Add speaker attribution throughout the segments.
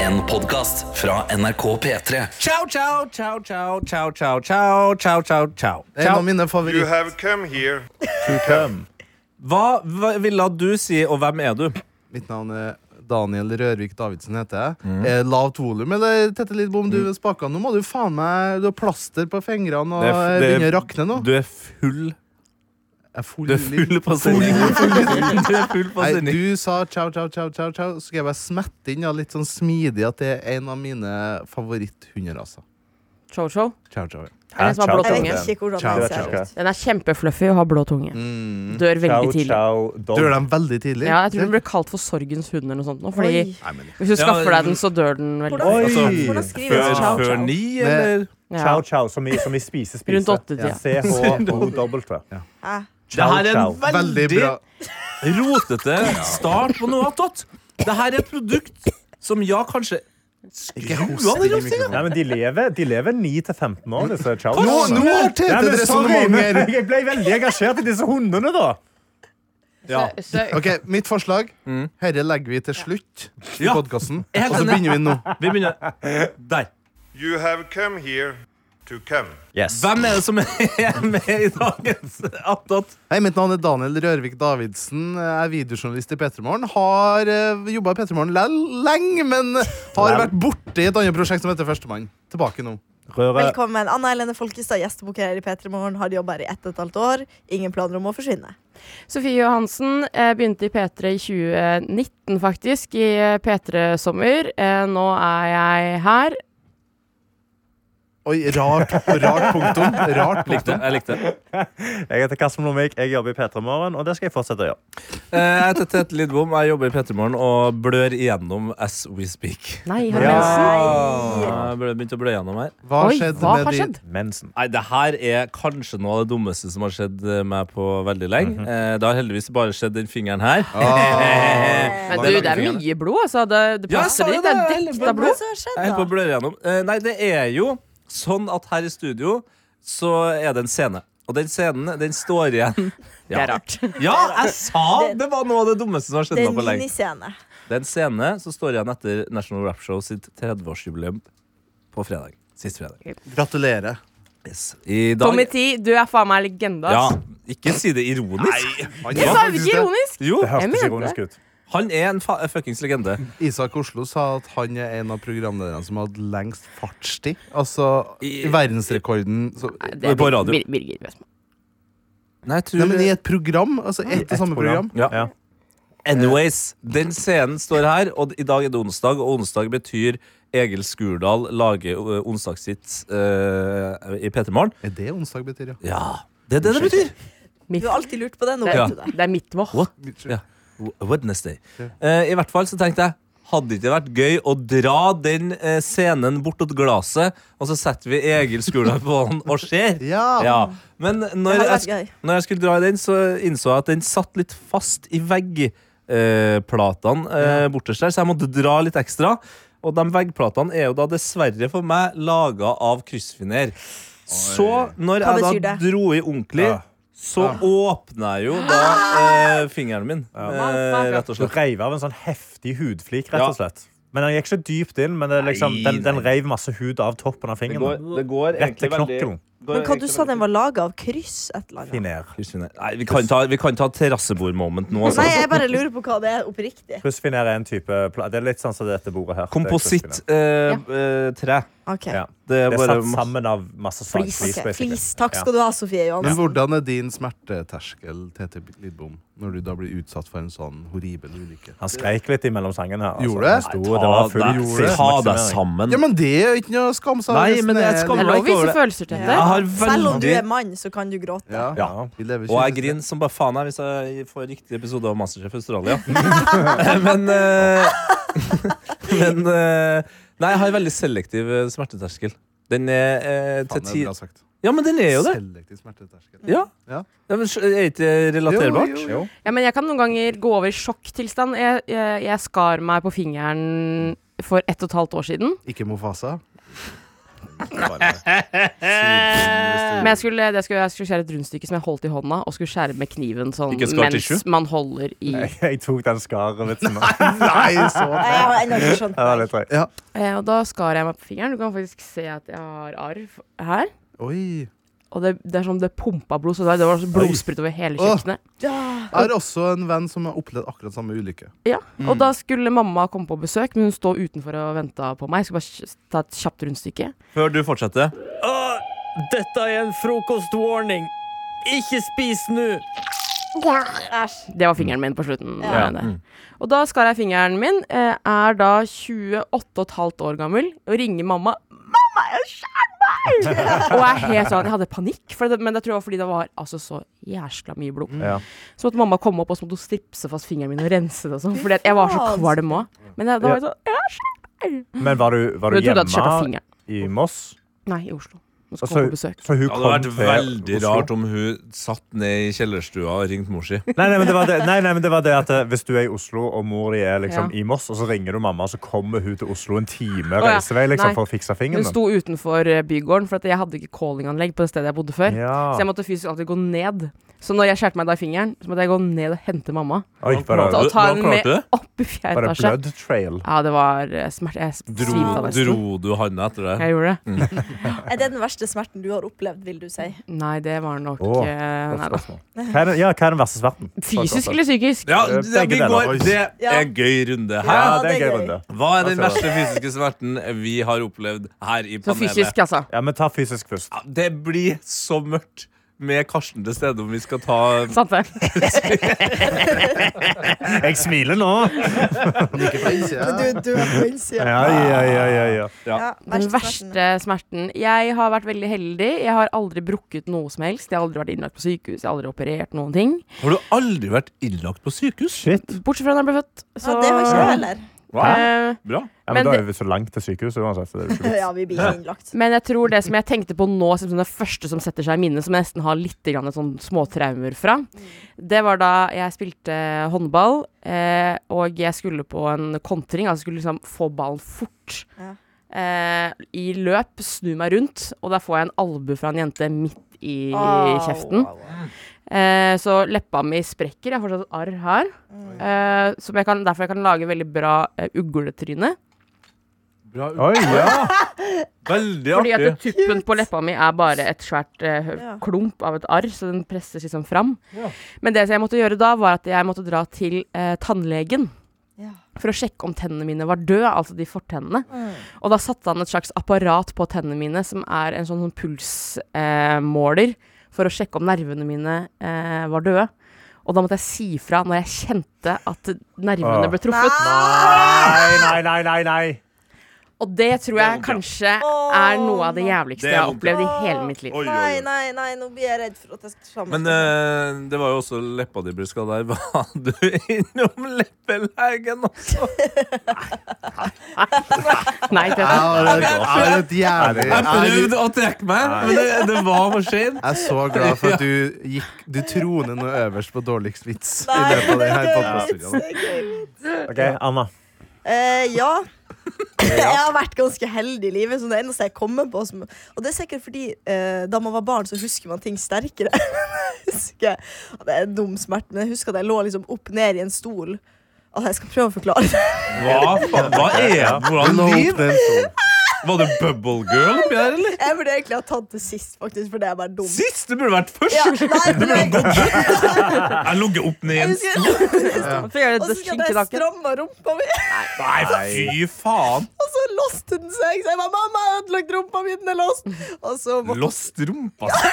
Speaker 1: En podcast fra NRK P3
Speaker 2: Ciao, ciao, ciao, ciao, ciao, ciao, ciao, ciao, ciao, ciao.
Speaker 3: En av mine
Speaker 4: You
Speaker 3: favoritter.
Speaker 4: have come here.
Speaker 2: Hva, hva ville du si, og hvem er du?
Speaker 3: Mitt navn er Daniel Rørvik Davidsen heter jeg.
Speaker 2: Mm.
Speaker 3: Eh, Lavt volum, eller Tette Lidbom, du ved spakene. Nå må du faen meg Du har plaster på fingrene og
Speaker 2: Det er f- det er-
Speaker 3: eh, begynner å rakne nå.
Speaker 2: Du er full.
Speaker 3: Jeg er full
Speaker 2: Du er full på sending. Du er full på
Speaker 3: Nei,
Speaker 2: sending.
Speaker 3: du sa ciao, ciao, ciao, ciao, ciao. Så skal jeg bare smette inn ja, litt sånn smidig at det er en av mine favoritthunderaser.
Speaker 5: Chow-chow.
Speaker 3: Ciao, ciao. ja.
Speaker 5: Er det den som har blå
Speaker 6: Jeg
Speaker 5: tunge?
Speaker 6: vet ikke hvordan
Speaker 3: Ciao,
Speaker 6: den
Speaker 3: ciao,
Speaker 6: ser ut.
Speaker 5: Den er kjempefluffy og har blå tunge.
Speaker 3: Mm.
Speaker 5: Dør veldig tidlig.
Speaker 7: Ciao,
Speaker 3: Dør
Speaker 7: ciao,
Speaker 3: dem veldig tidlig.
Speaker 5: Ja, jeg tror den ble kalt for sorgens hund eller noe sånt nå, fordi
Speaker 6: Oi.
Speaker 3: Nei, men
Speaker 5: hvis du
Speaker 2: Ja,
Speaker 5: skaffer
Speaker 2: men-
Speaker 5: deg den, så dør den veldig.
Speaker 6: Hvordan,
Speaker 7: Oi.
Speaker 6: hvordan skrives
Speaker 2: Altså, Før,
Speaker 6: ciao,
Speaker 2: før
Speaker 6: ciao?
Speaker 2: ni, eller?
Speaker 5: Ja.
Speaker 7: ciao, som i, som i spise, spise.
Speaker 5: Rundt åttetida.
Speaker 7: Ja, C-H-O-W.
Speaker 6: Hæ?
Speaker 2: Det her er en
Speaker 3: Veldig
Speaker 2: veldig
Speaker 3: bra.
Speaker 2: rotete start på noe attåt. Det her er et produkt som ja, kanskje Skru
Speaker 3: Ikke
Speaker 2: av
Speaker 3: host
Speaker 2: den
Speaker 3: inn i
Speaker 2: rostinga.
Speaker 7: Nei,
Speaker 3: mikrofonen.
Speaker 7: men de lever, de lever 9-15 år, disse chow
Speaker 3: Nå, nå har Tete
Speaker 7: Nei,
Speaker 2: sånn
Speaker 7: men
Speaker 3: et
Speaker 7: sorry,
Speaker 3: resonnement
Speaker 7: men
Speaker 3: her.
Speaker 7: jeg ble veldig engasjert i disse hundene, da.
Speaker 2: Ja.
Speaker 5: Så,
Speaker 3: Ok, Mitt forslag
Speaker 2: Mm.
Speaker 3: Herre legger vi til slutt i
Speaker 2: Ja.
Speaker 3: podkasten.
Speaker 2: Helt
Speaker 3: Og så
Speaker 2: enig.
Speaker 3: begynner vi nå.
Speaker 2: Vi begynner der.
Speaker 4: You have come here to come.
Speaker 2: Hvem er det som er med i dagens attåt?
Speaker 3: Hei, Mitt navn er Daniel Rørvik Davidsen. Jeg er videojournalist i Petremorgen. Har uh, jobba i Petremorgen lenge, men har vært borte i et annet prosjekt som heter Førstemann. Tilbake nå.
Speaker 7: Røret
Speaker 6: Velkommen. Anna Helene Folkestad, gjestebok her i P3 Morgen. Har jobba her i ett og et halvt år. Ingen planer om å forsvinne.
Speaker 5: Sofie Johansen eh, begynte i P3 i 2019, faktisk, i eh, P3-sommer. Eh, nå er jeg her.
Speaker 3: Oi, rart, rart punktum. Rart
Speaker 2: Likte,
Speaker 3: punktum.
Speaker 2: jeg likte.
Speaker 7: Jeg heter Karsten Blomvik, jeg jobber i P3 Morgen, og det skal jeg fortsette å gjøre.
Speaker 2: Eh, Jeg heter Tete Lidbom, jeg jobber i Petremorgen og blør igjennom as we speak.
Speaker 5: Nei, har du mensen?
Speaker 2: Ja. Jeg ble- begynte å blø igjennom her.
Speaker 3: Hva har
Speaker 5: Oi,
Speaker 3: skjedd
Speaker 5: hva
Speaker 3: med
Speaker 5: har
Speaker 3: de-
Speaker 5: skjedd?
Speaker 7: Mensen.
Speaker 2: Nei, Det her er kanskje noe av det dummeste som har skjedd eh, meg på veldig lenge. Eh, Det har heldigvis bare skjedd den fingeren her.
Speaker 5: Men Eh, du, det er mye blod, altså. Det, det
Speaker 2: Ja, jeg sa
Speaker 5: passer
Speaker 2: jo
Speaker 5: ditt. Det
Speaker 2: det,
Speaker 5: er
Speaker 2: heller
Speaker 5: dykt av blod.
Speaker 6: Så har skjedd,
Speaker 2: Jeg holder på å
Speaker 6: da.
Speaker 2: bløre igjennom. Eh, Nei, det er jo sånn at her i studio så er det en scene. Og den scenen, den står igjen.
Speaker 5: Det er rart.
Speaker 2: Ja, jeg sa det var noe av det dummeste som har skjedd
Speaker 6: Det er
Speaker 2: meg
Speaker 6: en
Speaker 2: på lenge.
Speaker 6: miniscene.
Speaker 2: Det er en scene som står igjen etter National Rap Show sitt 30-årsjubileum på fredag. Sist fredag.
Speaker 3: Gratulerer.
Speaker 2: Yes. I dag
Speaker 5: Tommy T, du er faen meg legende,
Speaker 2: Ja,
Speaker 5: ass.
Speaker 2: ikke si det ironisk.
Speaker 3: Han
Speaker 5: Jeg
Speaker 3: var
Speaker 5: sa det
Speaker 3: faktisk
Speaker 5: ikke
Speaker 3: det.
Speaker 5: ironisk.
Speaker 2: Jo,
Speaker 7: Det
Speaker 5: Jeg
Speaker 7: hørtes
Speaker 5: mener
Speaker 7: ironisk ut.
Speaker 2: han er en fa fuckings legende.
Speaker 3: Isak Oslo sa at han er en av programlederne som har hatt lengst fartstid. Altså
Speaker 2: I-
Speaker 3: i verdensrekorden så,
Speaker 5: Det er
Speaker 2: På radio.
Speaker 5: Bir- Birger Westman.
Speaker 2: Nei, jeg
Speaker 3: Nei,
Speaker 2: tror
Speaker 3: men i et program. Altså ett og samme program.
Speaker 2: ja.
Speaker 7: Ja.
Speaker 2: Anyways, den scenen står her, og i dag er det onsdag, og onsdag betyr Egil Skurdal lager ø, onsdagshits ø, i P3 Morgen.
Speaker 3: Er det onsdag betyr, ja?
Speaker 2: Ja, det er det det betyr!
Speaker 6: Du har alltid lurt på det nå,
Speaker 5: Det,
Speaker 2: Ja.
Speaker 6: vet du det.
Speaker 5: det er mitt vår.
Speaker 2: What? Ja. Wednesday. Eh, I hvert fall så tenkte jeg hadde det ikke vært gøy å dra den eh, scenen bortåt glasset, og så setter vi Egil Skurdal på den og ser?
Speaker 3: Ja.
Speaker 2: Ja. Men når
Speaker 6: Ah. hadde
Speaker 2: jeg,
Speaker 6: vært
Speaker 2: sk-
Speaker 6: gøy.
Speaker 2: når jeg skulle dra i den, så innså jeg at den satt litt fast i veggplatene eh, bortest der, så jeg måtte dra litt ekstra. Og de veggplatene er jo da dessverre for meg laga av kryssfiner. Så når
Speaker 6: Hva
Speaker 2: jeg
Speaker 6: betyr
Speaker 2: da
Speaker 6: det?
Speaker 2: dro i ordentlig,
Speaker 7: Ja.
Speaker 2: så åpna jeg jo da
Speaker 6: Ah!
Speaker 2: eh, fingeren min, eh, rett og
Speaker 7: Du
Speaker 2: slett.
Speaker 7: reiv av en sånn heftig hudflik, rett og slett. Men den gikk ikke dypt inn, men det er liksom, den, den reiv masse hud av toppen av fingeren. Rett til knokkelen.
Speaker 6: Men hva du sa den var laga av kryss? Et eller annet.
Speaker 7: Finer.
Speaker 2: Kryssfiner. Nei, vi kan ta, vi kan ta terrassebordmoment nå, altså.
Speaker 6: Nei, jeg bare lurer på hva det er oppriktig.
Speaker 7: Kryssfiner er en type pla- Det er litt sånn som dette bordet her. Det er kryssfiner.
Speaker 2: Kompositttre. Eh, eh, tre.
Speaker 6: Ok,
Speaker 7: Ja.
Speaker 2: det er
Speaker 7: Det er
Speaker 2: bare
Speaker 7: satt
Speaker 2: masse
Speaker 7: sammen av masse slag.
Speaker 5: Flis.
Speaker 6: Ok,
Speaker 7: Flis, basically.
Speaker 6: Please. Takk skal du ha, Sofie
Speaker 3: Men
Speaker 6: Johansen.
Speaker 3: hvordan er din smerteterskel, Tete Lidbom, når du da blir utsatt for en sånn horribel ulykke?
Speaker 7: Han skreik litt imellom sangene. her, altså.
Speaker 3: Gjorde det?
Speaker 7: sto, det var full
Speaker 2: deg-
Speaker 7: siste
Speaker 2: ta deg
Speaker 7: maksimering.
Speaker 2: sammen.
Speaker 3: Ja, men det er jo ikke noe å skamme seg
Speaker 2: Nei, men det er et
Speaker 3: Resten
Speaker 5: Det
Speaker 2: skam-
Speaker 5: er lov å
Speaker 2: over
Speaker 5: vise
Speaker 2: det.
Speaker 5: følelser til det.
Speaker 2: Jeg har
Speaker 6: Selv om du
Speaker 2: veldig
Speaker 6: er mann, så kan du gråte.
Speaker 3: Ja.
Speaker 7: Ja.
Speaker 3: Vi lever
Speaker 2: og jeg
Speaker 3: ikke i
Speaker 2: griner som bare faen her hvis jeg får riktig episode av Masterchef Australia. men eh, Men eh, Nei, jeg har veldig selektiv eh, smerteterskel. Den er eh, til
Speaker 3: Faen, det
Speaker 2: ti
Speaker 3: er bra sagt.
Speaker 2: Ja, men den er jo det.
Speaker 3: Selektiv smerteterskel.
Speaker 2: Ja.
Speaker 3: Ja.
Speaker 2: Ja, men Er ikke det relaterbart?
Speaker 3: Jo, jo, jo.
Speaker 5: Ja, men jeg kan noen ganger gå over i sjokktilstand. Jeg, jeg, jeg skar meg på fingeren for ett og et halvt år siden.
Speaker 3: Ikke Mofasa.
Speaker 5: Men jeg skulle, det skulle, jeg skulle skjære et rundstykke som jeg holdt i hånda, og skulle skjære med kniven sånn
Speaker 2: Ikke scar
Speaker 5: mens
Speaker 2: tissue?
Speaker 5: man holder i.
Speaker 7: Jeg tok den skarvitsen.
Speaker 3: Nei, så
Speaker 6: Nei, Jeg har ennå ikke skjønt
Speaker 7: Det var
Speaker 6: det.
Speaker 7: litt drøyt.
Speaker 5: Eh, og da skar jeg meg på fingeren. Du kan faktisk se at jeg har arv her.
Speaker 3: Oi.
Speaker 5: Og det, det er som det pumpa blod. Så det var- det var sånn blodsprut over hele
Speaker 3: Åh.
Speaker 5: kjøkkenet.
Speaker 3: Jeg har også en venn som har opplevd akkurat samme ulykke.
Speaker 5: Ja,
Speaker 2: Mm.
Speaker 5: Og da skulle mamma komme på besøk, men hun stod utenfor og venta på meg. Jeg skulle bare kj- ta et kjapt rundstykke.
Speaker 2: Før du fortsetter.
Speaker 8: Åh, dette er en frokostwarning. Ikke spis nå.
Speaker 5: Det var fingeren min på slutten.
Speaker 6: Ja.
Speaker 5: eh, der. Og da skar jeg fingeren min. eh, Er da 28,5 år gammel og ringer mamma. 'Mamma, jeg skjærer meg!' og jeg er helt sånn, jeg hadde panikk, for det, men det tror jeg var fordi det var altså, så jæskla mye blod.
Speaker 7: Ja.
Speaker 5: Så måtte mamma komme opp og så måtte hun stripse fast fingeren min og rense det. og Sånn, fordi at jeg var så kvalm òg. Men jeg, da var jeg sånn jeg er så-
Speaker 7: Men var du, var
Speaker 5: Men
Speaker 7: du
Speaker 5: Jeg trodde at jeg skjærte
Speaker 7: hjemme
Speaker 5: fingeren.
Speaker 7: i Moss?
Speaker 5: Nei, i Oslo. Hun
Speaker 7: Og
Speaker 5: skal
Speaker 7: så-
Speaker 5: komme på besøk.
Speaker 7: så hun
Speaker 2: Det hadde vært
Speaker 7: kom til
Speaker 2: veldig
Speaker 7: Oslo?
Speaker 2: rart om hun satt ned i kjellerstua og ringte mor si.
Speaker 7: Nei, nei, men det var det, nei, nei, men det var det at eh, Hvis du er i Oslo, og mor di er liksom,
Speaker 5: Ja.
Speaker 7: i Moss, og så ringer du mamma, så kommer hun til Oslo en time
Speaker 5: ja.
Speaker 7: reisevei liksom,
Speaker 5: Nei.
Speaker 7: for å fikse
Speaker 5: Hun
Speaker 7: fingeren.
Speaker 5: sto utenfor eh, bygården, for at jeg hadde ikke callinganlegg på det stedet jeg bodde før.
Speaker 7: Ja.
Speaker 5: Så jeg måtte fysisk alltid gå ned. Så når jeg skjærte meg da i fingeren, så måtte jeg gå ned og hente mamma.
Speaker 7: Oi, var
Speaker 5: Ta,
Speaker 7: det,
Speaker 5: og
Speaker 2: Hvordan
Speaker 5: ta den
Speaker 2: klarte
Speaker 5: med
Speaker 2: du det?
Speaker 5: opp i fjerde
Speaker 7: var det
Speaker 5: etasje.
Speaker 7: blood trail?
Speaker 5: Ja, det var eh, smerte. Jeg
Speaker 2: Dro,
Speaker 5: svimte av nesten.
Speaker 2: dro du handa etter det?
Speaker 5: Jeg gjorde det.
Speaker 6: Er det den verste smerten du har opplevd, vil du si?
Speaker 5: Nei, det var nok
Speaker 7: Åh,
Speaker 5: eh, nei, da.
Speaker 7: Hva er, den- ja, hva er den verste sverten?
Speaker 5: Fysisk liksom. eller psykisk?
Speaker 2: Ja,
Speaker 7: Eh,
Speaker 2: det,
Speaker 7: begge
Speaker 2: vi går,
Speaker 7: deler.
Speaker 2: det er
Speaker 6: Ja.
Speaker 2: en gøy runde. Hæ?
Speaker 7: Ja, det er en
Speaker 6: det er
Speaker 7: gøy
Speaker 6: gøy.
Speaker 7: runde.
Speaker 2: Hva er den
Speaker 7: Da ser
Speaker 2: verste fysiske smerten vi har opplevd her i
Speaker 5: Så
Speaker 2: panelet?
Speaker 5: fysisk, altså.
Speaker 7: Ja, men ta fysisk først.
Speaker 2: Ja, Det blir så mørkt med Karsten til stede om vi skal ta
Speaker 5: Sant det?
Speaker 7: Jeg smiler nå!
Speaker 3: Ikke på innsida.
Speaker 6: Du, du er på innsida.
Speaker 7: Ja, ja, ja, ja, ja.
Speaker 6: Ja,
Speaker 5: Den
Speaker 6: verste smerten.
Speaker 5: verste smerten. Jeg har vært veldig heldig. Jeg har aldri brukket noe som helst. Jeg har aldri vært innlagt på sykehus. Jeg har aldri operert noen ting.
Speaker 2: Har du aldri vært innlagt på sykehus?
Speaker 7: Shit.
Speaker 5: Bortsett fra da jeg ble født.
Speaker 6: Ja,
Speaker 5: Så
Speaker 6: det har ikke jeg heller.
Speaker 5: eh,
Speaker 2: Bra.
Speaker 7: Ja,
Speaker 5: Men
Speaker 7: men da
Speaker 5: det-
Speaker 7: er vi så langt til sykehuset uansett. så det er jo ikke vits.
Speaker 6: Ja, vi blir ikke innlagt.
Speaker 5: Men jeg tror det som jeg tenkte på nå, som sånn det første som setter seg i minnet, som jeg nesten har litt grann et sånn småtraumer fra, det var da jeg spilte håndball, eh, og jeg skulle på en kontring, altså skulle liksom få ballen fort.
Speaker 6: Ja.
Speaker 5: Eh, I løp, snu meg rundt, og da får jeg en albu fra en jente midt i
Speaker 6: Au,
Speaker 5: kjeften.
Speaker 6: au, au.
Speaker 5: Eh, så leppa mi sprekker, jeg har fortsatt arr her, eh, som jeg kan, derfor jeg kan lage veldig bra eh, ugletryne.
Speaker 7: Oi, ja.
Speaker 2: Veldig
Speaker 5: Fordi at
Speaker 2: artig.
Speaker 5: tuppen på leppa mi er bare et svært eh, hø-
Speaker 6: Ja.
Speaker 5: klump av et arr, så den presses liksom fram. Men det som jeg måtte gjøre da, var at jeg måtte dra til eh, tannlegen.
Speaker 6: Ja.
Speaker 5: For å sjekke om tennene mine var døde, altså de fortennene. Og da satte han et slags apparat på tennene mine, som er en sånn, sånn pulsmåler, eh, måler, for å sjekke om nervene mine eh, var døde. Og da måtte jeg si fra når jeg kjente at
Speaker 2: Ah.
Speaker 5: nervene
Speaker 7: Åh.
Speaker 5: ble truffet.
Speaker 7: Nei, nei, nei, nei, nei.
Speaker 5: Og det
Speaker 2: Det
Speaker 5: tror jeg
Speaker 2: er vondt,
Speaker 5: kanskje er noe av det jævligste
Speaker 2: Det er
Speaker 5: jeg har
Speaker 2: vondt,
Speaker 5: opplevd i hele mitt liv.
Speaker 2: Oi, oi,
Speaker 6: Nei,
Speaker 2: oi.
Speaker 6: nei, nei, nå blir jeg redd for at jeg skal sammen.
Speaker 2: Men eh, det var jo også leppa di ble skada. Var du innom leppelegen også?
Speaker 5: Nei, det,
Speaker 3: Jeg har et- jeg har et jævlig
Speaker 2: Jeg
Speaker 3: jeg-
Speaker 2: prøvde å trekke meg, men det, det var for seint.
Speaker 3: Jeg er så glad for at du gikk Du troner nå øverst på dårligst vits.
Speaker 6: Nei,
Speaker 3: i løpet av det her
Speaker 6: det er
Speaker 3: podcastserien.
Speaker 6: Det er gøy.
Speaker 7: OK, Anna.
Speaker 6: Eh, ja. Jeg har vært ganske heldig i livet. Som det eneste jeg kommer på som, Og det er sikkert fordi eh, da man var barn, så husker man ting sterkere. husker jeg, og det er en dum smerte, men jeg husker at jeg lå liksom opp ned i en stol. Altså, jeg skal prøve å forklare det.
Speaker 2: Hva, faen- hva er
Speaker 3: Du
Speaker 2: Hvordan
Speaker 3: lå opp
Speaker 2: liv?
Speaker 3: den stolen.
Speaker 2: Var det bubble girl oppi der, eller?
Speaker 6: Jeg burde egentlig ha tatt det sist, faktisk, for det er bare dumt.
Speaker 2: Sist! Det burde vært først.
Speaker 6: Ja, nei, men jeg,
Speaker 2: Jeg lå opp ned i en
Speaker 6: jeg husker,
Speaker 5: Få gjøre
Speaker 6: og
Speaker 5: det
Speaker 6: så
Speaker 5: skink
Speaker 6: skal
Speaker 5: i
Speaker 6: jeg
Speaker 5: nakken.
Speaker 6: stramme rumpa mi.
Speaker 2: Nei, fy faen!
Speaker 6: Og så låste den seg. Så jeg bare 'Mamma, jeg har ødelagt rumpa mi, den er låst'. Og så måtte
Speaker 2: Lost rumpa si.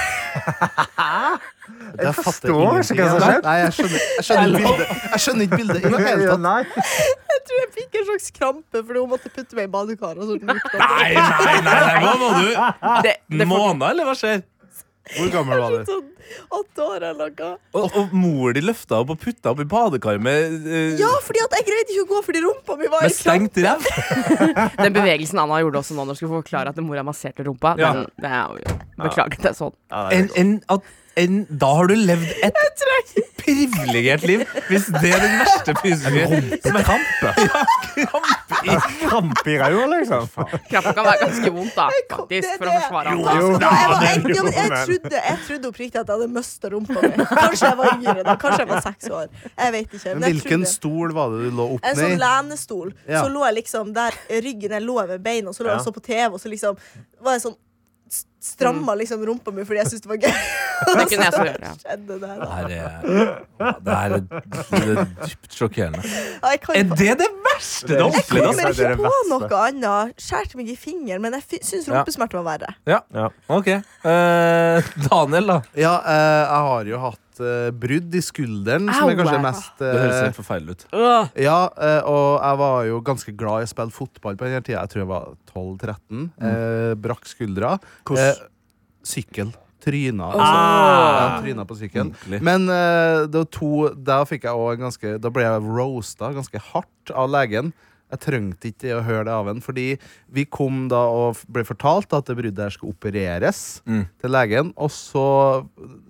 Speaker 3: Jeg
Speaker 7: forstår
Speaker 3: fatter
Speaker 7: ikke hva som
Speaker 3: ingenting.
Speaker 7: skjer.
Speaker 3: Nei, jeg skjønner, jeg skjønner ikke bildet. Jeg skjønner ikke bildet i det hele tatt.
Speaker 7: Nei.
Speaker 6: jeg tror jeg fikk en slags krampe fordi hun måtte putte meg i badekar. Og så den gikk opp.
Speaker 2: Nei, nei, nei, nei, hva var du?
Speaker 5: Det, det får,
Speaker 2: Måneder, eller hva skjer?
Speaker 3: Hvor gammel var du?
Speaker 6: sånn åtte år eller noe.
Speaker 2: Og, og mor di løfta opp og putta opp i badekaret med, eh,
Speaker 6: Ja, fordi at jeg greide ikke å gå fordi rumpa mi var i
Speaker 2: med
Speaker 6: krampe.
Speaker 2: stengt ræv.
Speaker 5: den bevegelsen Anna gjorde også nå når hun skulle forklare at mora masserte rumpa,
Speaker 2: Ja.
Speaker 5: den, det er jo Beklager, det er sånn.
Speaker 2: enn enn at enn da har du levd et privilegert liv, hvis det er den verste fysiske
Speaker 7: Rumpekamp.
Speaker 2: kamp i
Speaker 7: krampe i ræva, liksom.
Speaker 5: Krampa kan være ganske vondt, da.
Speaker 6: Jeg kom- det
Speaker 5: Faktisk,
Speaker 6: er
Speaker 5: for å
Speaker 6: det.
Speaker 5: forsvare alt.
Speaker 6: Ja,
Speaker 7: Jo,
Speaker 6: ja, jeg, var, jeg,
Speaker 7: men-
Speaker 6: ja, men jeg,
Speaker 7: men-
Speaker 6: trodde, jeg trodde oppriktig at jeg hadde mista rumpa mi. Kanskje jeg var yngre da. Kanskje jeg var seks år. Jeg vet ikke.
Speaker 3: Men
Speaker 6: Men jeg
Speaker 3: hvilken
Speaker 6: trodde-
Speaker 3: stol var det du lå opp
Speaker 6: En
Speaker 3: ned
Speaker 6: sånn
Speaker 3: i?
Speaker 6: lenestol.
Speaker 3: Ja.
Speaker 6: Så lå jeg liksom der ryggen jeg lå over beina, og så lå jeg
Speaker 7: Ja.
Speaker 6: og så på TV, og så liksom var jeg sånn s- Stramma liksom rumpa mi fordi jeg syntes det var gøy.
Speaker 5: Det kunne jeg så gjøre. ja.
Speaker 6: Skjedde det her, da.
Speaker 2: Det her er, det her er, det er dypt sjokkerende.
Speaker 6: Ja, jeg kan
Speaker 2: Er
Speaker 6: fa-
Speaker 2: det det verste du har opplevd?
Speaker 6: jeg
Speaker 2: ass?
Speaker 6: kommer
Speaker 7: Det er
Speaker 6: ikke
Speaker 7: det
Speaker 6: på
Speaker 7: verste.
Speaker 6: noe annet. Skjærte meg i fingeren, men jeg fi- syns
Speaker 2: Ja.
Speaker 6: rumpesmerter var verre.
Speaker 2: Ok. eh, Daniel, da.
Speaker 3: Ja, eh, jeg har jo hatt eh, brudd i skulderen, som er
Speaker 5: Au,
Speaker 3: kanskje
Speaker 5: au.
Speaker 3: mest
Speaker 2: Det høres
Speaker 3: eh,
Speaker 2: helt forferdelig ut.
Speaker 5: Øh,
Speaker 3: Ja, eh, og jeg var jo ganske glad i å spille fotball på den tida. Jeg tror jeg var 12-13. Eh, brakk skuldra. Eh,
Speaker 7: Hvordan?
Speaker 3: sykkel. Tryna. Altså,
Speaker 7: Ah.
Speaker 3: Ja, tryna på sykkel.
Speaker 2: Ordentlig.
Speaker 3: Men eh, det var to Da fikk jeg også en ganske Da ble jeg roasta ganske hardt av legen. Jeg trengte ikke å høre det av en, fordi vi kom da og f- ble fortalt at det bruddet her skulle opereres
Speaker 2: Mm.
Speaker 3: til legen, og så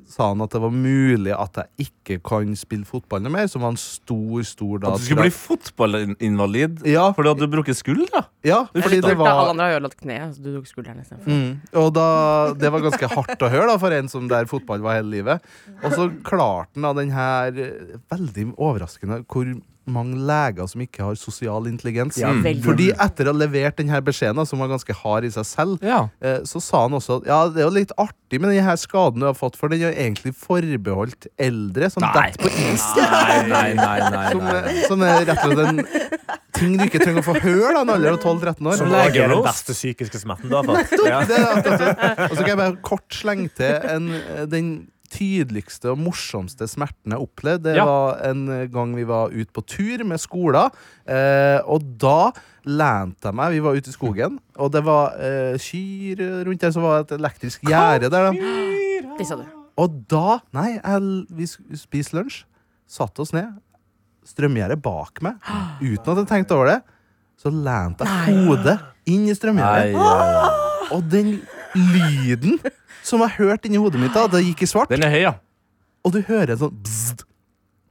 Speaker 3: sa han at det var mulig at jeg ikke kan spille fotball noe mer, som var en stor, stor da
Speaker 2: At du skulle bli fotballinvalid
Speaker 3: ja,
Speaker 2: fordi at du brukket skuldra?
Speaker 3: ja, fordi
Speaker 5: det
Speaker 3: det
Speaker 5: var... Alle
Speaker 3: var
Speaker 5: andre har ødelagt kneet, så du tok skulderen istedenfor.
Speaker 3: Mm. Og da, det var ganske hardt å høre da, for en som der fotball var hele livet. Og så klarte han da den her eh, veldig overraskende hvor mange leger som ikke har sosial intelligens.
Speaker 2: Ja,
Speaker 3: Mm.
Speaker 5: veldig.
Speaker 3: Fordi etter å ha levert den her beskjeden, da, som var ganske hard i seg selv,
Speaker 2: Ja.
Speaker 3: eh, så sa han også at ja, det er jo litt artig med den her skaden du har fått, for den er jo egentlig forbeholdt eldre. Som
Speaker 2: Nei.
Speaker 3: detter på is.
Speaker 2: Nei, nei, nei. nei,
Speaker 3: Som,
Speaker 2: nei.
Speaker 3: eh, som er rett og slett en ting du ikke trenger å få høre da, en alder av 12-13 år.
Speaker 7: Som
Speaker 2: Lege
Speaker 7: også er den
Speaker 2: Rose.
Speaker 7: verste psykiske smerten du har fått. Ja.
Speaker 3: Det er akkurat det. Og så kan jeg bare kort slenge til en, eh, den tydeligste og morsomste smerten jeg opplevde. Det
Speaker 2: Ja.
Speaker 3: var en gang vi var ute på tur med skolen, eh, og da lente jeg meg Vi var ute i skogen, og det var eh, kyr rundt der, så var det et elektrisk gjerde der. Da.
Speaker 5: Tissa du.
Speaker 3: Og da Nei, jeg, vi sk- spiste lunsj, satte oss ned, strømgjerdet bak meg, uten at jeg tenkte over det, så lente jeg hodet inn i strømgjerdet.
Speaker 2: Ai, ai, ai.
Speaker 3: Og den lyden som jeg hørte inni hodet mitt da det gikk i svart,
Speaker 2: Den er høy, ja.
Speaker 3: og du hører en sånn bzzzt.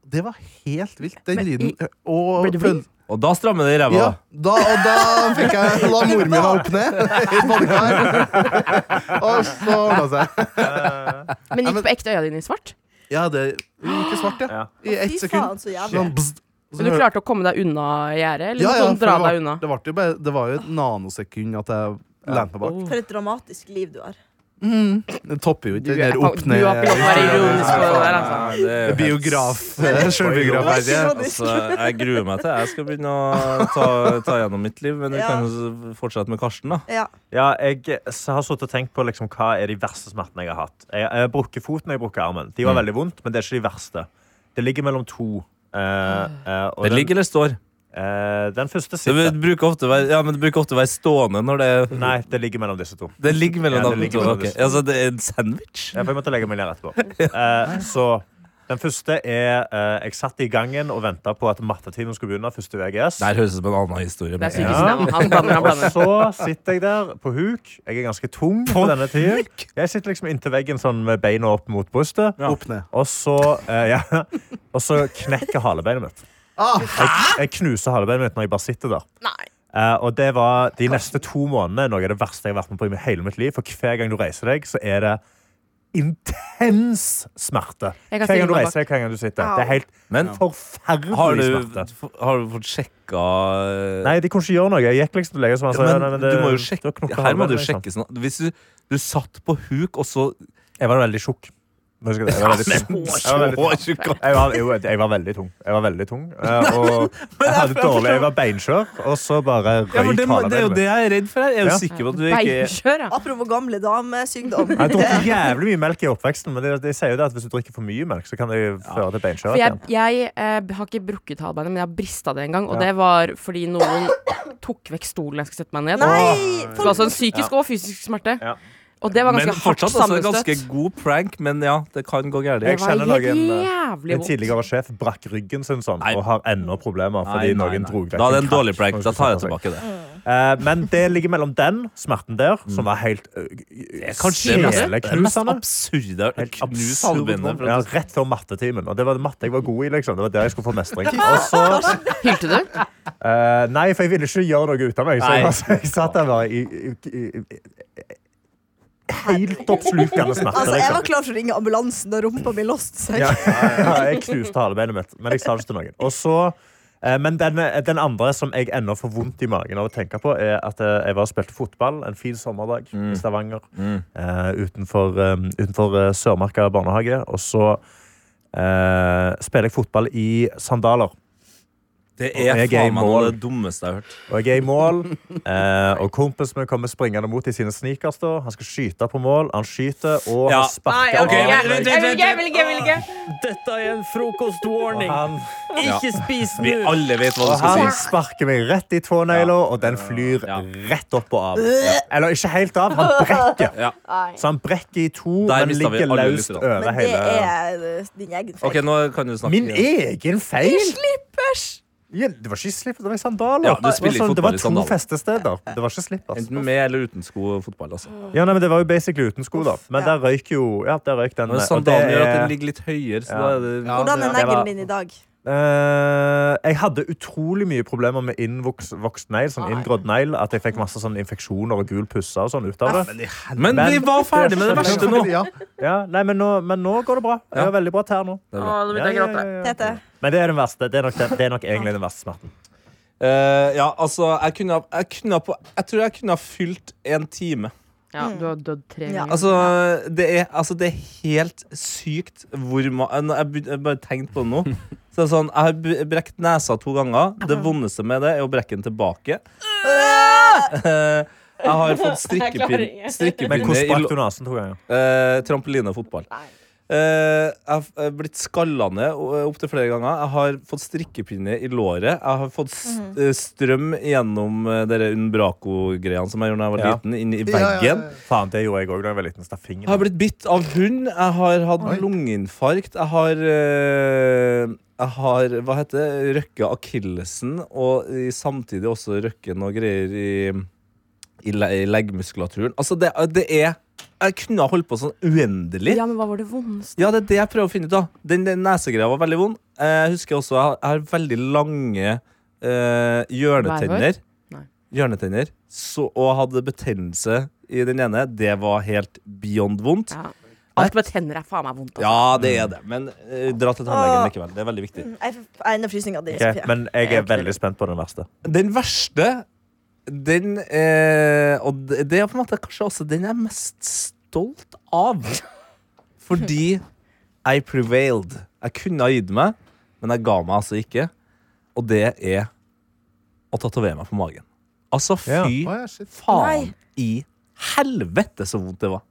Speaker 3: Det var helt vilt, den
Speaker 5: Men i-
Speaker 3: lyden. Og,
Speaker 5: Ble du blid?
Speaker 2: Og da strammer det i ræva.
Speaker 3: Ja,
Speaker 2: da.
Speaker 3: da, og da fikk jeg la mor mi meg opp ned i et badekar. Og så ordna det seg.
Speaker 5: Men gikk på ekte øya dine i svart?
Speaker 3: altså. Ja, det gikk i svart, ja.
Speaker 7: Ja.
Speaker 3: I ett
Speaker 6: Fy
Speaker 3: sekund.
Speaker 6: faen, så jævlig.
Speaker 3: Sånn bzzzt. Og så
Speaker 5: Men du
Speaker 3: hører-
Speaker 5: klarte å komme deg unna gjerdet? Eller
Speaker 3: Ja, ja,
Speaker 5: måtte
Speaker 3: for
Speaker 5: noen dra
Speaker 3: det var-
Speaker 5: deg unna?
Speaker 3: Det, varte jo bare- det var jo et nanosekund at jeg lente meg
Speaker 5: Oh.
Speaker 3: bak.
Speaker 6: For et dramatisk liv du har.
Speaker 3: Det topper jo ikke
Speaker 5: Du
Speaker 3: den
Speaker 5: er
Speaker 3: der
Speaker 5: på-
Speaker 3: opp
Speaker 5: du har ikke lov til å være ironisk på det der, altså.
Speaker 2: Nei, det er jo helt-
Speaker 3: Biograf. Sjølbiografverdige.
Speaker 2: Altså, jeg gruer meg til jeg skal begynne å ta, ta gjennom mitt liv, men vi
Speaker 6: Ja.
Speaker 2: kan jo fortsette med Karsten, da.
Speaker 6: Ja.
Speaker 7: Ja, jeg s- har suttet og tenkt på liksom, hva er de verste smertene jeg har hatt. Jeg, jeg har brukket foten og jeg har brukket armen. De var
Speaker 5: Mm.
Speaker 7: veldig vondt, men det er ikke de verste. Det ligger mellom to. Eh, eh, og
Speaker 2: Det
Speaker 7: den,
Speaker 2: ligger eller står?
Speaker 7: eh, den første
Speaker 2: Det
Speaker 7: sitter.
Speaker 2: bruker ofte være, ja, men det bruker ofte være stående når det
Speaker 7: Nei, det ligger mellom disse to.
Speaker 2: Det ligger mellom
Speaker 7: Ja, det
Speaker 2: dem.
Speaker 7: ligger
Speaker 2: to,
Speaker 7: mellom
Speaker 2: ok.
Speaker 7: disse.
Speaker 2: Altså, det er en sandwich?
Speaker 7: Ja, for jeg måtte legge meg ned etterpå. Eh, så den første er eh, Jeg satt i gangen og venta på at mattetimen skulle begynne. Første VGS.
Speaker 2: Det her høres ut som en annen historie.
Speaker 5: Det
Speaker 2: men-
Speaker 5: er psykisk
Speaker 7: Ja.
Speaker 5: nevn. Han blander, han
Speaker 7: Og
Speaker 5: blander.
Speaker 7: så sitter jeg der på huk. Jeg er ganske tung på, denne tiden. Jeg sitter liksom inntil veggen sånn med beina opp mot brystet.
Speaker 3: Opp ned.
Speaker 7: Og så, eh, ja. og så knekker halebeinet mitt.
Speaker 2: Ah,
Speaker 7: Jeg, jeg knuser halebeinet mitt når jeg bare sitter der.
Speaker 5: Nei.
Speaker 7: Eh, og det var de neste to månedene noe av det verste jeg har vært med på i hele mitt liv. For hver gang du reiser deg, så er det intens smerte.
Speaker 5: Jeg kan
Speaker 7: Hver
Speaker 5: stille
Speaker 7: gang du
Speaker 5: meg
Speaker 7: reiser deg, hver gang du sitter. Det er helt
Speaker 2: Men har
Speaker 7: forferdelig
Speaker 2: du,
Speaker 7: smerte.
Speaker 2: har du fått eh, sjekka
Speaker 7: Nei, de kunne ikke gjøre noe. Jeg gikk liksom til legen som han
Speaker 2: Ja,
Speaker 7: sa,
Speaker 2: men,
Speaker 7: ja, nei, men det-
Speaker 2: du må jo
Speaker 7: du
Speaker 2: sjekke
Speaker 7: har knokket
Speaker 2: Her må du
Speaker 7: halebeinet, liksom.
Speaker 2: sjekke sånn. Hvis du, du satt på huk, og så
Speaker 7: Jeg var veldig tjukk. Husker du det? Jeg var veldig tjukk. Jeg var veldig
Speaker 2: Så tjukk.
Speaker 7: Jeg var, jo, jeg var veldig tung. Jeg var veldig tung eh, Og jeg hadde dårlig Jeg var beinskjør, og så bare røyk
Speaker 2: Ja, for det, må- det er jo det
Speaker 7: halebeinet mitt.
Speaker 2: jeg er redd for her. Jeg er jo
Speaker 7: Ja.
Speaker 2: sikker på at du ikke
Speaker 5: Beinskjør, ja.
Speaker 6: Apropos gamle damesykdom.
Speaker 7: Jeg drukket jævlig mye melk i oppveksten, men de, de sier jo det at hvis du drikker for mye melk, så kan det jo føre til beinskjørhet
Speaker 5: For jeg,
Speaker 7: igjen.
Speaker 5: jeg eh, har ikke brukket halebeinet, men jeg har brista det en gang. Og
Speaker 7: Ja.
Speaker 5: det var fordi noen tok vekk stolen jeg skulle sette meg ned.
Speaker 6: Nei!
Speaker 5: Så altså en psykisk og fysisk smerte.
Speaker 7: Ja.
Speaker 5: Og det var
Speaker 2: Men
Speaker 5: ganske hardt
Speaker 2: fortsatt altså, en
Speaker 5: sammenstøt.
Speaker 2: ganske god prank, men ja, det kan gå gærent.
Speaker 5: Det
Speaker 7: Jeg
Speaker 5: var
Speaker 7: kjenner noen, eh,
Speaker 5: jævlig
Speaker 7: Min
Speaker 5: vondt.
Speaker 7: tidligere sjef brakk ryggen sin sånn
Speaker 2: Nei.
Speaker 7: og har ennå problemer fordi
Speaker 2: Nei, nei,
Speaker 7: noen
Speaker 2: nei.
Speaker 7: dro vekk
Speaker 2: Da er det
Speaker 7: en
Speaker 2: en dårlig prank.
Speaker 7: krakk når hun
Speaker 2: Da
Speaker 7: skulle
Speaker 2: tar jeg
Speaker 7: sette seg.
Speaker 5: Mm.
Speaker 2: tilbake det.
Speaker 7: Eh, men det ligger mellom den smerten der, som var helt eh, ø,
Speaker 2: Kanskje Mm. det mest- det mest
Speaker 7: Knusende.
Speaker 2: absurde jeg har hørt.
Speaker 7: Helt
Speaker 2: Knus
Speaker 7: absurd
Speaker 2: halvbenet
Speaker 7: vondt.
Speaker 2: fra
Speaker 7: Ja,
Speaker 2: et
Speaker 7: rett før mattetimen. Og det var det matte jeg var god i. liksom Det var der jeg skulle få mestring. Og så,
Speaker 5: Hylte du?
Speaker 7: eh, nei, for jeg ville ikke gjøre noe ut av meg. Så jeg,
Speaker 2: Nei.
Speaker 7: altså, jeg satt der bare i, i, i, i Helt oppslukende smerte.
Speaker 6: Altså, jeg
Speaker 7: liksom.
Speaker 6: var klar for å ringe ambulansen da rumpa mi låste seg.
Speaker 7: Ja, ja, jeg knuste halebeinet mitt, men jeg sa det ikke til noen. Og så, eh, men den, den andre som jeg ennå får vondt i magen av å tenke på, er at eh, jeg var og spilte fotball en fin sommerdag i Stavanger eh, utenfor, eh, utenfor eh, Sørmarka barnehage. Og så eh, spiller jeg fotball i sandaler.
Speaker 2: Det
Speaker 7: Og
Speaker 2: er
Speaker 7: jeg er i
Speaker 2: faen meg noe av
Speaker 7: mål.
Speaker 2: det dummeste jeg har hørt.
Speaker 7: Og jeg er i mål, eh, og kompisen min kommer springende mot i sine sneakers. da. Han skal skyte på mål, han skyter, og
Speaker 2: Ja.
Speaker 7: han sparker
Speaker 2: ok,
Speaker 7: av
Speaker 2: vent, vent,
Speaker 7: meg.
Speaker 8: Jeg vil ikke, jeg vil ikke, jeg vil ikke. Dette er en frokostwarning.
Speaker 7: Han
Speaker 8: Ikke spis
Speaker 2: Vi
Speaker 8: nå.
Speaker 2: alle vet hva du
Speaker 7: Og
Speaker 2: skal
Speaker 7: han
Speaker 2: si.
Speaker 7: sparker meg rett i tånegla, og den flyr
Speaker 2: Ja.
Speaker 7: rett opp og av. Eller ikke helt av, han brekker.
Speaker 2: Ja.
Speaker 7: Så han brekker i to,
Speaker 2: Der
Speaker 7: men
Speaker 2: mistet vi
Speaker 7: ligger
Speaker 2: alle
Speaker 7: løst
Speaker 2: lytterne.
Speaker 7: over
Speaker 6: Men det
Speaker 7: hele
Speaker 6: er eh, din egen feil.
Speaker 2: Ok, nå kan du snakke.
Speaker 7: Min
Speaker 2: igjen.
Speaker 7: egen feil!
Speaker 6: Slippers!
Speaker 7: Ja, det var ikke slipp, det var i sandaler.
Speaker 2: Ja, du spiller
Speaker 7: det var, sånn, det
Speaker 2: fotball i
Speaker 7: var to
Speaker 2: sandaler.
Speaker 7: festesteder. Det var ikke slipp, ass.
Speaker 2: Enten med eller uten sko og fotball, altså.
Speaker 7: Ja, nei, men det var jo basically uten sko, da. Men der røyk jo ja, der røyk den.
Speaker 2: Men
Speaker 7: og
Speaker 2: sandalen
Speaker 7: det
Speaker 2: gjør at
Speaker 7: er-
Speaker 2: den ligger litt høyere, så
Speaker 7: Ja.
Speaker 2: da er det
Speaker 7: Ja,
Speaker 6: Hvordan er
Speaker 7: det var-
Speaker 6: neglen din i dag?
Speaker 7: Eh, jeg hadde utrolig mye problemer med innvokst negl, sånn inngrodd negl. At jeg fikk masse sånn infeksjoner og gul pusse og sånn ut av det.
Speaker 2: Men vi var ferdig med det verste nå.
Speaker 3: Ja.
Speaker 7: Ja, nei, men nå, men nå går det bra. Jeg har veldig bra tær nå.
Speaker 2: Det
Speaker 8: Å,
Speaker 2: er bra.
Speaker 8: nå begynte jeg å gråte.
Speaker 6: Tete?
Speaker 7: Men det er den verste. Det er nok, den, det er nok egentlig den verste smerten.
Speaker 2: Eh, ja, altså, jeg kunne, ha- jeg kunne ha på Jeg tror jeg kunne ha fylt en time.
Speaker 5: Ja, du har dødd tre
Speaker 6: Ja.
Speaker 5: ganger.
Speaker 2: Altså, det er, altså, det er helt sykt hvor ma Når jeg, begyn- jeg bare tenkte på det nå. Så det er sånn, Jeg har b- brekt nesa to ganger. Det vondeste med det er å brekke den tilbake. Eh, jeg har fått strikkepin-
Speaker 7: Men
Speaker 2: strikkepinne
Speaker 7: hvordan
Speaker 2: i
Speaker 7: sprakk du nesen to ganger?
Speaker 2: Eh, trampoline og fotball. Eh, jeg har f- jeg har blitt skalla ned eh, opptil flere ganger. Jeg har fått strikkepinne i låret. Jeg har fått s-
Speaker 3: Mhm.
Speaker 2: eh, strøm gjennom eh, dere Unbraco-greiene som jeg gjorde da jeg var
Speaker 7: Ja.
Speaker 2: liten, inn i
Speaker 3: Ja, ja, ja,
Speaker 2: veggen.
Speaker 3: ja.
Speaker 7: Faen, det gjorde jeg òg da jeg var liten. Staff
Speaker 2: Jeg har
Speaker 7: fingeren.
Speaker 2: blitt bitt av hund. Jeg har hatt lungeinfarkt. Jeg har eh, Jeg har hva heter det? Røkke akillesen, og i- samtidig også røkke noe greier i, i, le i leggmuskulaturen. Altså, det, det er Jeg kunne ha holdt på sånn uendelig.
Speaker 5: Ja, men hva var det vondeste?
Speaker 2: Ja, det er det jeg prøver å finne ut av. Den, den nesegreia var veldig vond. Eh, Jeg husker også jeg har, jeg har veldig lange eh, hjørnetenner.
Speaker 5: Nei.
Speaker 2: Hjørnetenner. Så, og hadde betennelse i den ene. Det var helt beyond vondt.
Speaker 5: Ja. Alt med tenner er faen meg vondt. altså.
Speaker 2: Ja, det er det. Men eh, dra til
Speaker 5: Ah.
Speaker 2: tannlegen likevel. Det er veldig viktig.
Speaker 6: Jeg f- jeg er inne i frysninga di,
Speaker 7: Ok,
Speaker 6: Sofie.
Speaker 7: men jeg er veldig spent på den verste.
Speaker 2: Den verste, den eh, Og det det er på en måte kanskje også den jeg er mest stolt av. Fordi I prevailed. Jeg kunne ha gitt meg, men jeg ga meg altså ikke. Og det er å tatovere meg på magen. Altså,
Speaker 7: Ja.
Speaker 2: fy
Speaker 3: Å, ja, shit.
Speaker 2: faen i helvete så vondt det var.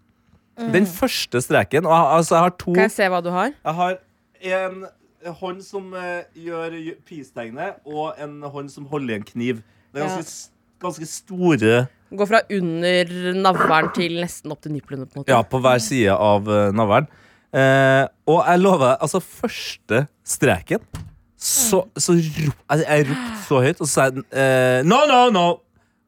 Speaker 2: Den første streken Og jeg- altså, jeg har to
Speaker 5: Kan jeg se hva du har?
Speaker 2: jeg har en hånd som eh, gjør gjø- peace-tegnet, og en hånd som holder i en kniv. Det er ganske,
Speaker 5: Ja.
Speaker 2: s- ganske store
Speaker 5: Gå fra under navlen til nesten opp til nipplene, på en måte.
Speaker 2: Ja, på hver side av uh, navlen. Eh, og jeg lover deg, altså første streken så,
Speaker 5: Mm.
Speaker 2: så rop, altså, Jeg ropte så høyt, og så sa jeg eh, No, no, no!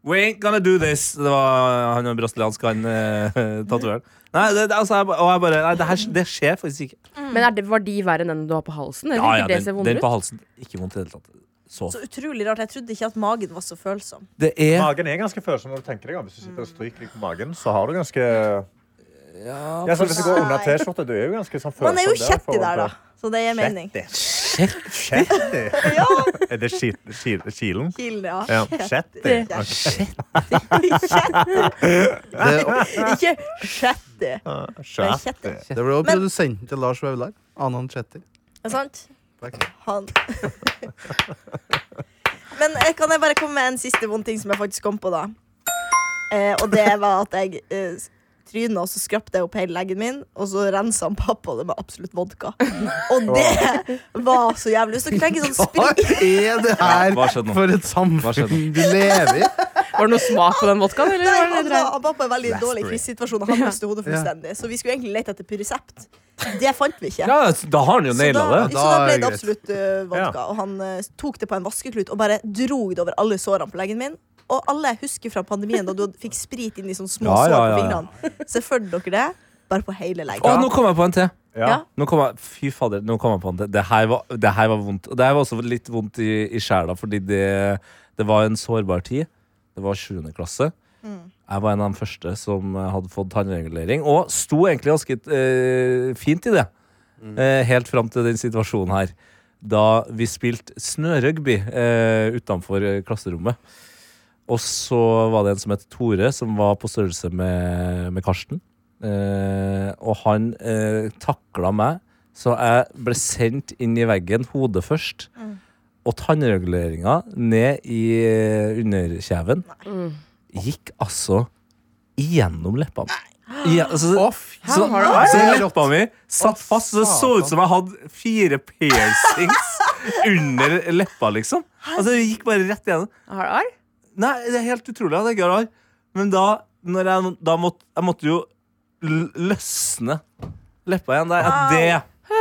Speaker 2: We ain't gonna do this! Det var han brasilianske, han uh, tatovøren. Nei, det, det- altså, jeg, ba- og jeg bare Nei, det, her, det skjer faktisk ikke.
Speaker 5: Men er det, var de verre enn den du har på halsen? Eller ikke det ser
Speaker 2: den,
Speaker 5: vondere
Speaker 2: den på halsen. Ikke vondt i det hele tatt. Så
Speaker 6: Så utrolig rart. Jeg trodde ikke at magen var så følsom.
Speaker 2: Det er
Speaker 7: Magen er ganske følsom når du tenker deg om. Hvis du sitter og stryker litt på magen, så har du ganske ja, så Hvis du går under T-skjorte, du er jo ganske sånn følsom.
Speaker 6: Man er jo
Speaker 7: der
Speaker 6: kjettig
Speaker 7: for-
Speaker 6: der, da. Så det gir mening.
Speaker 7: Kjettig? Er det skit, skil, kilen?
Speaker 6: Kill, ja.
Speaker 7: Ja. Kjettig.
Speaker 6: Ikke shetty. Men
Speaker 7: Kjettig.
Speaker 6: kjetty.
Speaker 3: Det ble jo
Speaker 6: Men-
Speaker 3: produsenten til Lars Vaular. Anan Chetty.
Speaker 6: Er det sant?
Speaker 3: Takk.
Speaker 6: Han Men eh, kan jeg bare komme med en siste vond ting som jeg faktisk kom på, da? Eh, og det var at jeg eh, tryna, og så skrapte jeg opp hele leggen min, og så rensa han pappa det med absolutt vodka. Og det var så jævlig. Hvis dere tenker sånn
Speaker 3: Hva
Speaker 6: sprit
Speaker 3: er det her
Speaker 2: Hva skjedde nå?
Speaker 3: for et
Speaker 2: Hva skjedde
Speaker 3: samfunn du lever i?
Speaker 5: Var det noe smak på den vodkaen? Eller
Speaker 6: Nei,
Speaker 5: var
Speaker 6: altså-
Speaker 5: det
Speaker 6: han,
Speaker 5: det
Speaker 6: var,
Speaker 5: dreien?
Speaker 6: han var på en veldig dårlig krisesituasjon, og han mistet hodet fullstendig. Så vi skulle egentlig lete etter pyresept. Det fant vi ikke.
Speaker 2: Ja, da har han jo
Speaker 6: Så da,
Speaker 2: naila det.
Speaker 6: så da
Speaker 3: Da er
Speaker 6: ble
Speaker 3: det
Speaker 6: det
Speaker 3: greit.
Speaker 6: absolutt eh, vodka. Og han eh, tok det på en vaskeklut og bare drog det over alle sårene på leggen min. Og alle husker fra pandemien da du hadde- fikk sprit inn i sånne små
Speaker 2: Ja,
Speaker 6: sår
Speaker 2: ja, ja,
Speaker 6: på
Speaker 2: ja.
Speaker 6: fingrene. Se for dere det, bare på hele leggen.
Speaker 2: Å, nå kom jeg på en til!
Speaker 7: Ja.
Speaker 2: Nå kom jeg, fy fader, nå kom jeg på en til. Det her var, det her var vondt. Og det her var også litt vondt i, i sjela, fordi det, det var en sårbar tid. Det var 7. klasse.
Speaker 6: Mm.
Speaker 2: Jeg var en av de første som eh, hadde fått tannregulering, og sto egentlig ganske eh, fint i det. Eh, helt fram til den situasjonen her. Da vi spilte snørugby eh, utenfor eh, klasserommet. Og så var det en som het Tore, som var på størrelse med, med Karsten. Eh, og han eh, takla meg, så jeg ble sendt inn i veggen, hodet først. Og tannreguleringa ned i eh, underkjeven gikk altså igjennom leppene. Ja, altså, så, så, leppa mi satt fast. Så det så ut som jeg hadde fire piercings under leppa, liksom. Altså, det gikk bare rett igjennom.
Speaker 5: Har du arr?
Speaker 2: Nei, det er helt utrolig at jeg ikke har arr. Men da, når jeg, da måtte jeg måtte jo l- løsne leppa igjen der. Ja, det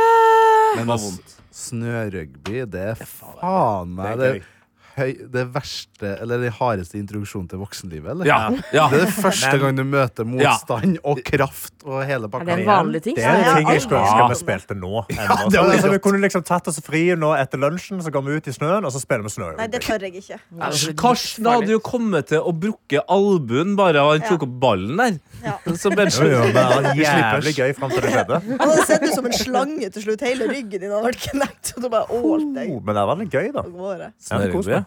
Speaker 3: Men
Speaker 2: var
Speaker 3: s-
Speaker 2: vondt.
Speaker 3: Snørugby, det er faen meg det,
Speaker 7: Det
Speaker 3: høy, det verste, eller den hardeste introduksjonen til voksenlivet, eller?
Speaker 2: Ja, ja.
Speaker 3: Det er det første gang du møter
Speaker 2: Ja.
Speaker 3: motstand og kraft og hele
Speaker 5: Er
Speaker 3: pakka.
Speaker 5: det en vanlig ting?
Speaker 7: Det er
Speaker 6: Ja,
Speaker 7: en ting jeg skulle ønske
Speaker 2: ja.
Speaker 7: vi spilte nå.
Speaker 3: var
Speaker 7: ennå.
Speaker 3: litt
Speaker 7: altså, vi
Speaker 3: rått.
Speaker 7: kunne liksom tatt oss fri nå etter lunsjen, så går vi ut i snøen, og så spiller vi snø.
Speaker 6: Nei, det tør jeg ikke.
Speaker 2: Æsj, Karsten hadde jo kommet til å brukke albuen bare av han tok opp ballen der.
Speaker 6: Ja.
Speaker 2: Så bare
Speaker 7: Jo, jo, men det var jævlig
Speaker 2: Slippers.
Speaker 7: gøy frem til det skjedde.
Speaker 6: Han hadde sett ut som en slange til slutt. Hele ryggen din hadde vært knekt. Og du bare ålt deg
Speaker 7: Oh, men det var litt gøy, da.
Speaker 6: av gårde.
Speaker 2: Snørugby.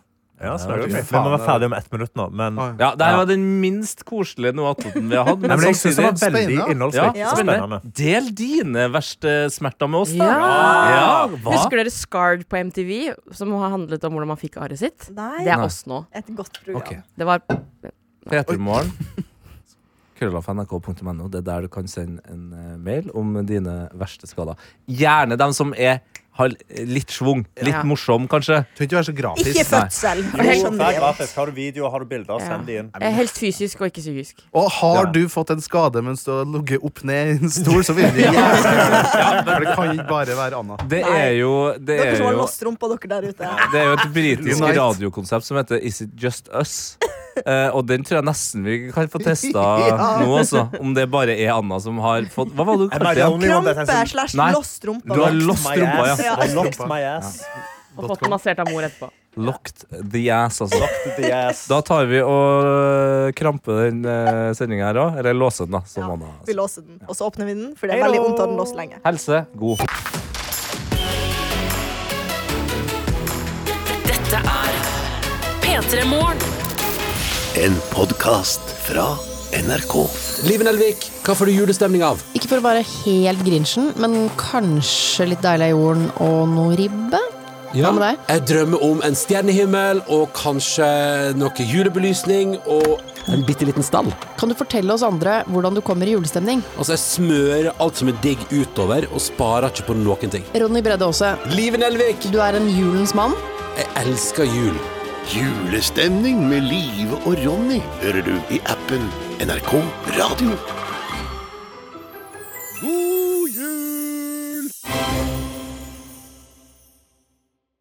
Speaker 7: Ja, snø.
Speaker 2: det
Speaker 7: Vi
Speaker 3: var gøy.
Speaker 7: må være ferdige om ett minutt nå, men
Speaker 3: Oi.
Speaker 2: Ja, det her var den minst koselige noe attåten vi har hatt.
Speaker 7: Nei,
Speaker 2: Men
Speaker 7: men jeg synes det var
Speaker 2: samtidig
Speaker 7: veldig
Speaker 3: Spennende.
Speaker 7: innholdsrikt
Speaker 6: Ja.
Speaker 7: og spennende.
Speaker 2: Del dine verste smerter med oss, da.
Speaker 5: Ja.
Speaker 2: Ja, hva?
Speaker 5: Husker dere Scarred på MTV, som har handlet om hvordan man fikk arret sitt? Det
Speaker 6: Nei,
Speaker 5: er
Speaker 2: Nei.
Speaker 5: oss nå.
Speaker 6: et godt program.
Speaker 2: Ok.
Speaker 5: Det var eh,
Speaker 2: P3morgen. Krøllafnrk.no. Det er der du kan sende en eh, mail om dine verste skader. Gjerne dem som er har litt schwung. Litt
Speaker 5: Ja.
Speaker 2: morsom, kanskje.
Speaker 3: Trenger ikke være så gratis.
Speaker 6: Ikke fødsel. Jeg
Speaker 7: Jo,
Speaker 6: skjønner
Speaker 7: det er
Speaker 6: det.
Speaker 7: gratis. Har du videoer, har du bilder, send de inn.
Speaker 5: Eh, Helst fysisk og ikke psykisk.
Speaker 3: Og har
Speaker 7: Ja.
Speaker 3: du fått en skade mens du har ligget opp ned i en stol, så vil du gjerne For det kan ikke bare være Anna.
Speaker 2: Det er jo Det
Speaker 6: Dere
Speaker 2: er
Speaker 6: som har
Speaker 2: jo,
Speaker 6: låst rumpa dere der ute.
Speaker 2: det er jo et britisk
Speaker 3: Unite.
Speaker 2: radiokonsept som heter Is it just us? Eh, og den tror jeg nesten vi kan få testa
Speaker 3: Ja.
Speaker 2: nå, altså. Om det bare er Anna som har fått Hva var det du
Speaker 7: Am I
Speaker 2: kalte
Speaker 7: the
Speaker 2: igjen?
Speaker 7: only one that
Speaker 6: Krampe
Speaker 7: has
Speaker 6: slash
Speaker 2: Nei.
Speaker 6: låst rumpa.
Speaker 2: Du har lost
Speaker 7: my
Speaker 2: rumpa,
Speaker 7: ass?
Speaker 2: ja.
Speaker 7: I locked my ass.
Speaker 5: Og fått den massert av mor etterpå.
Speaker 2: Locked the ass, altså.
Speaker 7: The ass.
Speaker 2: Da tar vi og kramper den eh, sendinga her òg. Eller låser den, da. Som Anna
Speaker 6: Vi
Speaker 2: sa.
Speaker 6: låser den, og så åpner vi den, for det er veldig vondt å ha den låst lenge.
Speaker 2: Helse. God.
Speaker 9: Dette er P3 Morgen.
Speaker 10: En podkast fra NRK. Liven Elvik, hva får du julestemning av?
Speaker 11: Ikke for å være helt grinchen, men kanskje litt deilig av jorden og noe ribbe? Hva med deg?
Speaker 10: Jeg drømmer om en stjernehimmel og kanskje noe julebelysning og en bitte liten stall.
Speaker 11: Kan du fortelle oss andre hvordan du kommer i julestemning?
Speaker 10: Altså, jeg smører alt som er digg utover og sparer ikke på noen ting.
Speaker 11: Ronny Bredde Aase,
Speaker 10: Liven Elvik,
Speaker 11: du er en julens mann.
Speaker 10: jeg elsker jul. Julestemning med Live og Ronny hører du i appen NRK Radio. God jul!